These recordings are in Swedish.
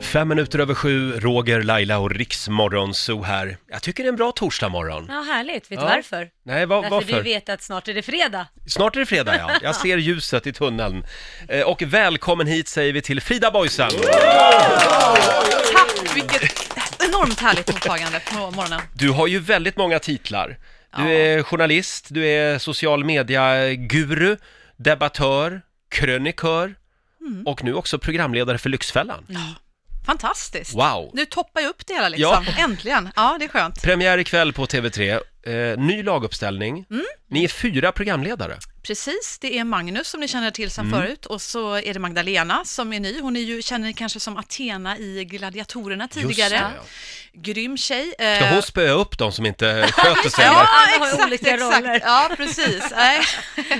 Fem minuter över sju, Roger, Laila och Riksmorgonzoo här. Jag tycker det är en bra torsdagmorgon. Ja, härligt. Vet Ja. du varför? Nej, va, Alltså, Därför varför? du vet att snart är det fredag. Snart är det fredag, ja. Jag ser ljuset i tunneln. Eh, Och välkommen hit säger vi till Frida Boisen. Tack! Vilket enormt härligt mottagande på morgonen. Mm. Du har ju väldigt många titlar. Du Ja. är journalist, du är social media-guru, debattör, krönikör Mm. och nu också programledare för Lyxfällan. Fantastiskt! Wow! Nu toppar jag upp det hela liksom. Äntligen! Ja, det är skönt. Premiär ikväll på TV3, eh, ny laguppställning. Mm. Ni är fyra programledare. Precis, det är Magnus som ni känner till sedan förut och så är det Magdalena som är ny. Hon är ju, känner ni kanske som Athena i Gladiatorerna tidigare. det, ja. Grym tjej. Ska Eh, hon spöa upp de som inte sköter sig? Ja, eller? Alla har ju exakt, olika exakt. roller. Ja, precis. Nej.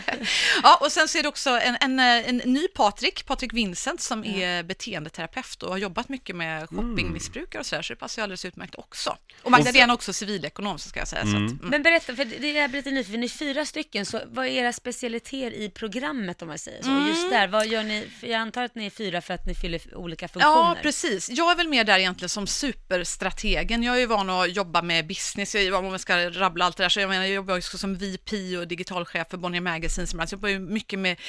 ja, och sen så är det också en, en, eh, en ny Patrik, Patrik Vincent, som är beteendeterapeut och har jobbat mycket med shoppingmissbrukare och sådär, så det passar ju alldeles utmärkt också. Och Magdalena är också civilekonom, så ska jag säga. Så att, mm. Men berätta, för det är jag blir lite nyfiken, ni är fyra stycken, så vad är era specialiteter i programmet om man säger Mm. så? Och Just där, vad gör ni? För Jag antar att ni är fyra för att ni fyller f- olika funktioner. Ja, precis. Jag är väl mer där egentligen som superstrategen. Jag är ju van att jobba med business, jag är, om man ska rabbla allt det där, så jag menar, jag jobbar ju också som VP och digitalchef för Bonnier Magazine, som alltså jag jobbar ju mycket med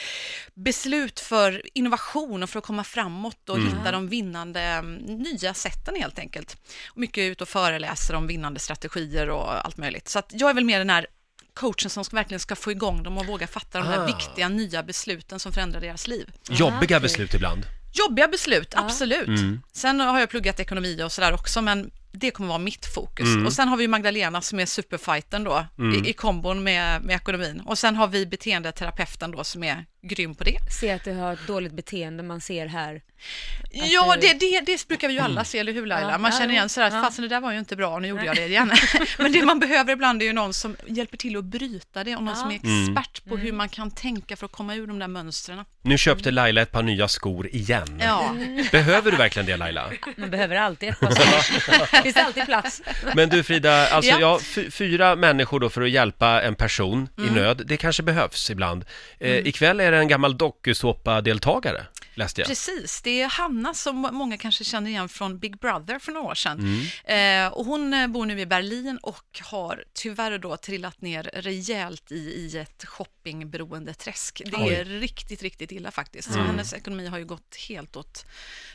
beslut för innovation och för att komma framåt och hitta de vinnande mm, nya sätten helt enkelt. Mycket ut och föreläser om vinnande strategier och allt möjligt. Så att jag är väl mer den här coachen som ska, verkligen ska få igång dem och våga fatta de Ah. här viktiga nya besluten som förändrar deras liv. Jobbiga okej. beslut ibland. Jobbiga beslut, absolut. Sen har jag pluggat ekonomi och sådär också, men det kommer vara mitt fokus. Och sen har vi ju Magdalena som är superfighten då, i, i kombon med, med ekonomin. Och sen har vi beteendeterapeuten då som är grym på det. Se att du har ett dåligt beteende man ser här. ja, du- det, det, det brukar vi ju alla se, eller hur Laila? Ja, Man ja, känner igen sådär, ja. att fasen det där var ju inte bra, nu gjorde jag det igen. men det man behöver ibland är ju någon som hjälper till att bryta det och någon Ja. Mm. som är expert på hur man kan tänka för att komma ur de där mönstren. Nu köpte Laila ett par nya skor igen. Ja. Behöver du verkligen det Laila? Man behöver alltid ett par saker. Finns det alltid plats. Men du Frida, alltså ja. Ja. fy- fyra människor då för att hjälpa en person Mm. i nöd, det kanske behövs ibland. Eh, Ikväll är det en gammal dokusåpa-deltagare, läste jag. Precis, det är Hanna som många kanske känner igen från Big Brother för några år sedan. Mm. Eh, och hon eh, bor nu i Berlin och har tyvärr då trillat ner rejält i, i ett shoppingberoende träsk. Det Oj. Mm. är riktigt, riktigt illa faktiskt. Så hennes ekonomi har ju gått helt åt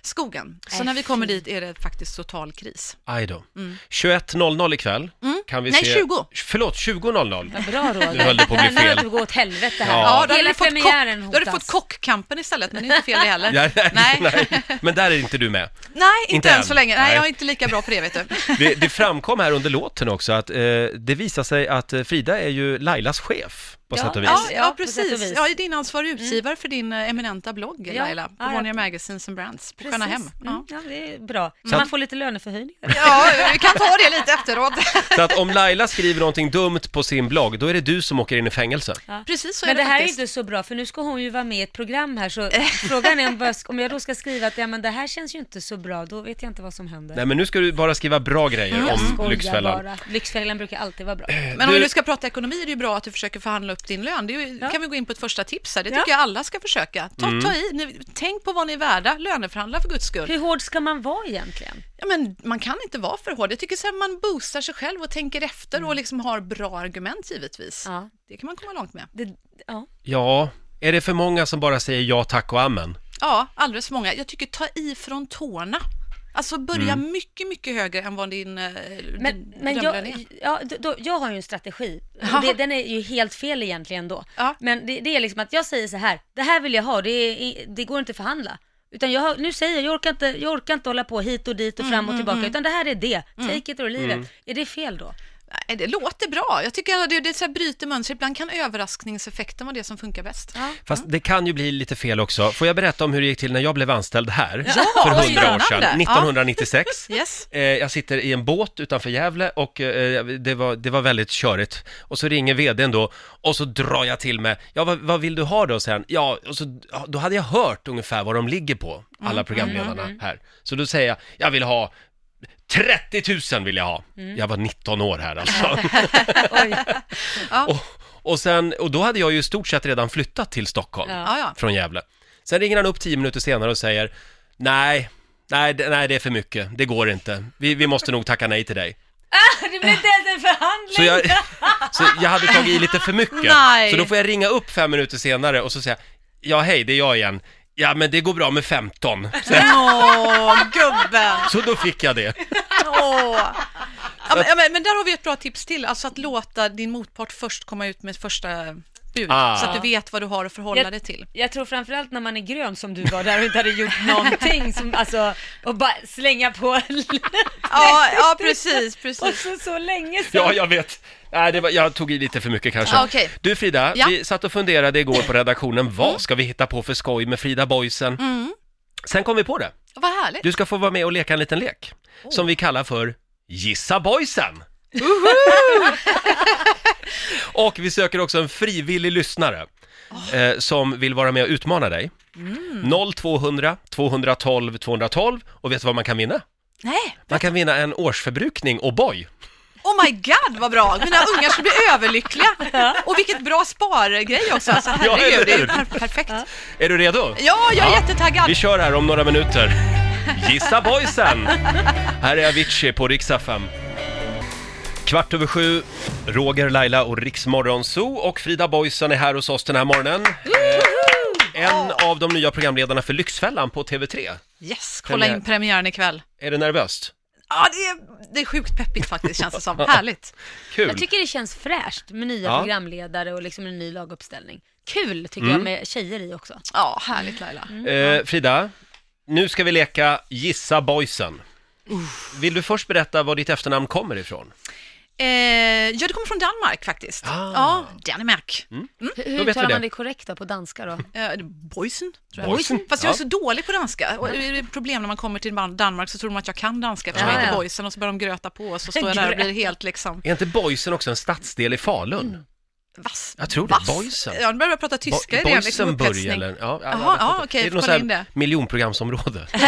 skogen. Äh, Så när vi kommer dit är det faktiskt total kris. Aj då. 21.00 ikväll kan vi Mm. Nej, se... 20. Förlåt, 20.00. Bra Roger. Nu höll det på att bli här fel. att gå åt helvete här. Ja, då, hade Hela du fått premiären kock, då hotas. hade du fått kockkampen istället, men det är inte fel det heller. Ja, nej, nej. nej. Men där är inte du med. Nej, inte, Inte än. än så länge. Nej, Nej. jag är inte lika bra på det, vet du. Det, det framkom här under låten också att eh, det visar sig att eh, Frida är ju Lailas chef på Ja. sätt och vis. Ja, vis. Ja, ja, på sätt och precis. vis. Mm. Ja, din ansvarig utgivare för din eh, eminenta blogg, Ja, Laila, på ja, ja. Bonnier Magazines and Brands, på Sköna Hem. Precis. Mm, Ja. ja, det är bra. Kan Så- man få lite löneförhöjning? ja, vi kan ta det lite efteråt. Så att om Laila skriver någonting dumt på sin blogg, då är det du som åker in i fängelse. precis så är Men det det här är faktiskt. inte så bra för nu ska hon ju vara med i ett program här så frågan är om, vad jag ska- om jag då ska skriva att ja, men det här känns ju inte så bra, då vet jag inte vad som händer. Nej, men nu ska du bara skriva bra grejer Jag om skojar Lyxfällan. Eh. bara. Lyxfällan brukar alltid vara bra. Men om Du- vi nu ska prata ekonomi är det ju bra att du försöker förhandla upp din lön. Det är ju, kan vi gå in på ett första tips här. Det tycker jag alla ska försöka. Ta, ta i, ni, tänk på vad ni är värda, löneförhandla för guds skull. Hur hård ska man vara egentligen? Ja, men man kan inte vara för hård. Jag tycker så här, man boostar sig själv och tänker efter och liksom har bra argument givetvis. Mm. Ja. Det kan man komma långt med. Det, ja. Ja, är det för många som bara säger ja tack och amen? Ja, alldeles för många. Jag tycker ta i från tårna. Alltså börja mycket, mycket högre än vad din, eh, Mm. Men, din men drömlön jag, är. ja, då, då, jag har ju en strategi. Ja. Det, den är ju helt fel egentligen då. Ja. Men det, det är liksom att jag säger så här, det här vill jag ha, det, är, det går inte att förhandla. Utan jag, har- nu säger jag, jag orkar, inte, jag orkar inte hålla på hit och dit och fram och tillbaka, utan det här är det. Take it or leave Mm. it. Är det fel då? Nej, det låter bra. Jag tycker att det, det så här bryter mönster. Ibland kan överraskningseffekten vara det som funkar bäst. Fast det kan ju bli lite fel också. Får jag berätta om hur det gick till när jag blev anställd här Ja, för vad hundra år sedan, spännande. Ja. 1996? Yes. Eh, Jag sitter i en båt utanför Gävle och eh, det var, det var väldigt körigt. Och så ringer vdn då och så drar jag till med, ja vad, vad vill du ha då? Sen? Ja, och så, ja, då hade jag hört ungefär vad de ligger på, Mm, alla programledarna här. Så då säger jag, jag vill ha 30 000 vill jag ha. Jag var 19 år här alltså. Mm. Oj. och, och, sen, och då hade jag ju i stort sett redan flyttat till Stockholm Ja. Ja, ja. från Gävle. Sen ringer han upp tio minuter senare och säger, nej, Nej, det, nej, det är för mycket. Det går inte. Vi, vi måste nog tacka nej till dig. Det blir inte ens en förhandling! Så jag, så jag hade tagit i lite för mycket. Nej. Så då får jag ringa upp fem minuter senare och så säga, ja hej, det är jag igen. Ja, men det går bra med 15. Åh, gubben! Så då fick jag det. Åh. Ja, men, ja, men, men där har vi ett bra tips till, alltså att låta din motpart först komma ut med ett första bud, Ah. så att du vet vad du har att förhålla dig till. Jag tror framförallt när man är grön som du var där och inte hade gjort någonting som, alltså, och bara slänga på Ja, ja precis, och precis. så, så länge sedan. Ja, jag vet. Nej, det var, jag tog i lite för mycket kanske. Ja, okej. Du Frida, Ja. Mm. vi satt och funderade igår på redaktionen, vad ska vi hitta på för skoj med Frida Boysen? Sen kom vi på det. Vad härligt. Du ska få vara med och leka en liten lek, som vi kallar för Gissa Boysen! och vi söker också en frivillig lyssnare eh, som vill vara med och utmana dig. 0200 212 212 och vet du vad man kan vinna? Nej. Man kan vinna en årsförbrukning och boy. Oh my god vad bra! Mina ungar ska bli överlyckliga. Och vilket bra spargrej också. Alltså, eller herregud, det är ju hur? per- perfekt. Är du redo? Ja, jag är Ja. jättetaggad. Vi kör här om några minuter. Gissa boysen! Här är Avicii på riksdag 5. Kvart över sju, Roger, Laila och Riksmorgon Zoo och Frida Boysen är här hos oss den här morgonen. Eh, En av de nya programledarna för Lyxfällan på TV3. Yes, kolla Premiär. in premiären ikväll. Är det nervöst? Ja, det är, det är sjukt peppigt faktiskt känns det som. Härligt. Kul! Jag tycker det känns fräscht med nya Ja. programledare och liksom en ny laguppställning. Kul tycker Mm. jag med tjejer i också. Ja, Mm. härligt Laila. Eh, Frida, nu ska vi leka Gissa boysen. Vill du först berätta var ditt efternamn kommer ifrån? Eh, ja, det kommer från Danmark faktiskt. Ah. Mm. Ja, Danmark. Hur vet vi hur talar det. man det korrekt då på danska då? Eh, Boysen, tror jag. Boysen, Fast jag är ja. Mm. så dålig på danska. Och det är ett problem när man kommer till Dan- Danmark så tror de att jag kan Ah, danska eftersom jag Ja, heter ja. Boysen och så börjar de gröta på och så står jag där och blir helt liksom Är inte boysen också en stadsdel i Falun? vass. Jag tror det, vass. Boysen. Ja, nu börjar jag prata tyska igen. liksom Boysenburg upphetsning. eller? Ja, jag Jaha, vet ja, inte. okej, det är får något kolla sånt in här det. miljonprogramsområde. tror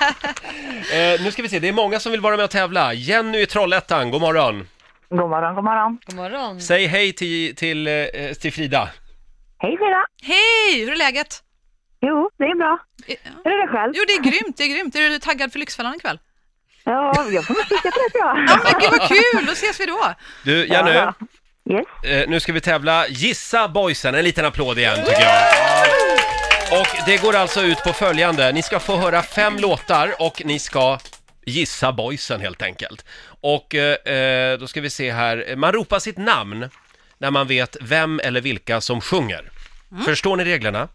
jag. eh, nu ska vi se, det är många som vill vara med och tävla. Jenny i Trollhättan, god morgon. God morgon, god morgon. God morgon. Säg hej till, till, eh, till Frida. Hej Frida! Hej, hur är läget? Jo, det är bra. Eh, Hur är det själv? Jo, det är grymt, det är grymt. Är du taggad för Lyxfällan ikväll? Ja, jag får väl kika på det tror jag. Ja, men gud vad kul, då ses vi då. Du, Jenny, Ja. Yes. eh, nu ska vi tävla Gissa Boysen. En liten applåd igen tycker jag. Och det går alltså ut på följande. Ni ska få höra fem låtar och ni ska gissa boysen helt enkelt. Och eh, eh, då ska vi se här. Man ropar sitt namn när man vet vem eller vilka som sjunger. Mm. Förstår ni reglerna?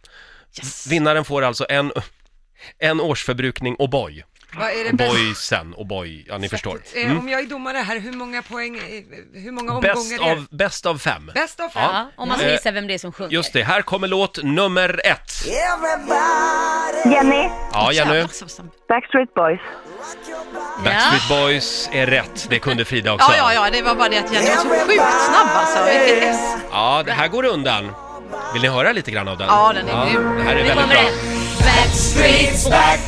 Yes. Vinnaren får alltså en, en årsförbrukning och boy. Vad är det bäst? Boysen och boy, ja ni förstår. Eh, Om jag är domare här, hur många poäng, eh, hur många omgångar Mm. Bäst är det? av, bäst av fem. Bäst av fem? Ja, om man ska Eh, gissa vem det är som sjunger. Just det, här kommer låt nummer ett. Jenny, Ja, Jenny. Jävlar, så- så- Backstreet Boys. Backstreet Boys är rätt, det kunde Frida också. Ja, ja, ja, det var bara det att Jenny var så sjukt snabb alltså. Vilket S. Ja, det här går undan. Vill ni höra lite grann av den? Ja, den är grym. Det här är Nu väldigt kommer bra. det. Backstreets back.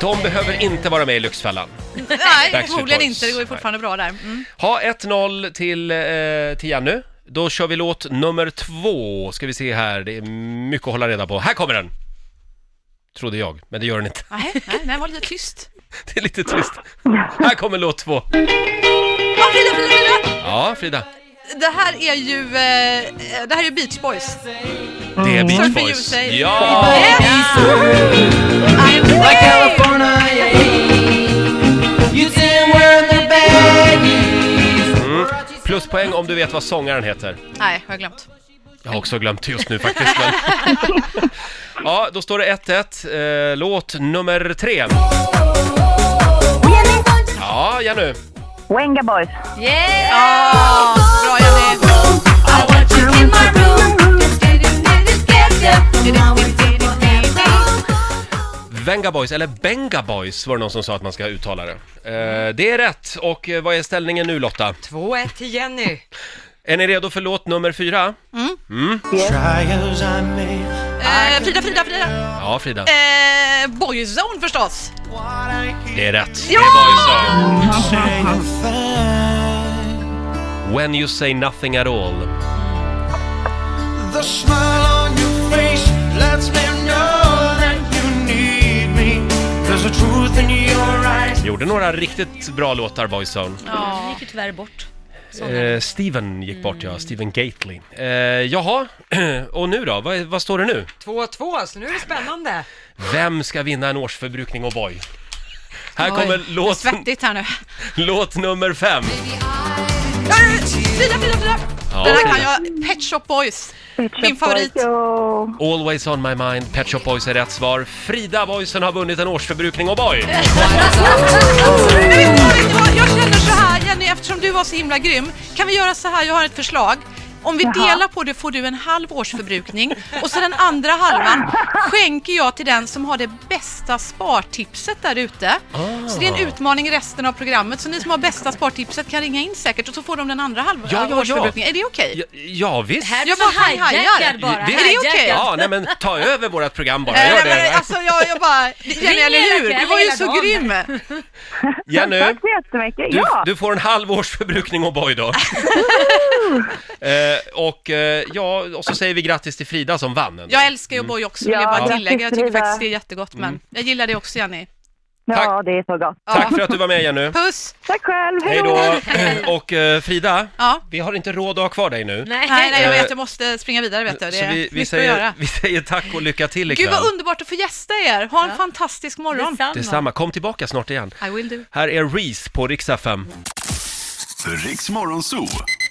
De behöver inte vara med i Lyxfällan. Nej, Backstreet förmodligen Boys. inte. Det går ju fortfarande bra där. Mm. Ha 1-0 till, eh, till Jenny. Då kör vi låt nummer två. Ska vi se här, det är mycket att hålla reda på. Här kommer den! Trodde jag, men det gör den inte. Nej, nej, nej, var lite tyst. Det är lite tyst. Här kommer låt två. Ja, Frida, Frida, Frida! Ja, Frida. Det här är ju, eh, det här är ju Beach Boys. Det är Beach Surf for Boys. you, säg. Ja! Yes! I'm ready! Pluspoäng om du vet vad sångaren heter. Nej, jag har glömt. Jag har också glömt just nu faktiskt. Men... ja, då står det 1-1. Eh, låt nummer tre. Ja, Jenny. Wenga Boys. Yeah! Ah, bra Jenny! Venga Boys, eller Benga Boys var det någon som sa att man ska uttala det. Eh, det är rätt. Och eh, vad är ställningen nu Lotta? 2-1 till Jenny. Är ni redo för låt nummer fyra? Eh, Frida, Frida, Frida! Ja, Frida. Eh, Boyzone förstås! Det är rätt. Det var ju så. When you say nothing at all. The smile on your face lets me know några riktigt bra låtar, Boyzone. Han Ja. gick ju tyvärr bort. Eh, Steven gick bort, ja. Steven Gately. Eh, jaha, och nu då? Vad, vad står det nu? 2-2, så nu är det spännande. Vem ska vinna en årsförbrukning O'boy? Här Oj, kommer det är låt, Svettigt här nu. låt nummer fem. Fyra, fyra, fyra! Ja, Den här fina. kan jag. Pet Shop Boys. Pet Shop Min favorit. Boys, ja. Always on my mind, Pet Shop Boys är rätt svar. Frida Boysen har vunnit en årsförbrukning O'boy. Men vet du vad, vet du vad? Jag känner så här Jenny, eftersom du var så himla grym. Kan vi göra så här, jag har ett förslag. Om vi delar på det får du en halv årsförbrukning och så den andra halvan skänker jag till den som har det bästa spartipset där ute. Så det är Ah. en utmaning i resten av programmet. Så ni som har bästa spartipset kan ringa in säkert och så får de den andra halvan Ja, ja, ja. årsförbrukningen. Är det okej? Ja, ja visst. Här Jag jag bara bara hijackar hijackar. bara. Det- Är det okej? hijackar. Ja, nej men ta över vårt program bara, Nej, gör men det. alltså jag, jag bara, Jenny, Ringer eller hur? hela Du var ju kvällen, så hela grym! Jenny, Tack så jättemycket. du, Ja, du får en halv årsförbrukning O'boy då. eh, och, eh, ja, och så säger vi grattis till Frida som vann. ändå. Jag älskar ju O'boy också, vill Ja, jag bara grattis, tillägga. Jag tycker Frida. faktiskt det är jättegott, men jag gillar det också Jenny. ja, tack. det är så gott. Ja. Mm. Tack för att du var med Jenny. Puss! Tack själv. Hej då. Och eh, Frida, Ja. vi har inte råd att ha kvar dig nu. Nej. Nej, nej, jag Eh, vet, jag måste springa vidare vet du. Det så är vi, vi, mycket att säger, göra. vi säger tack och lycka till Gud ikväll. vad underbart att få gästa er. Ha en Ja. fantastisk morgon. Detsamma. Detsamma, kom tillbaka snart igen. I will do. Här är Reese på Rix FM. Riks Morgonzoo.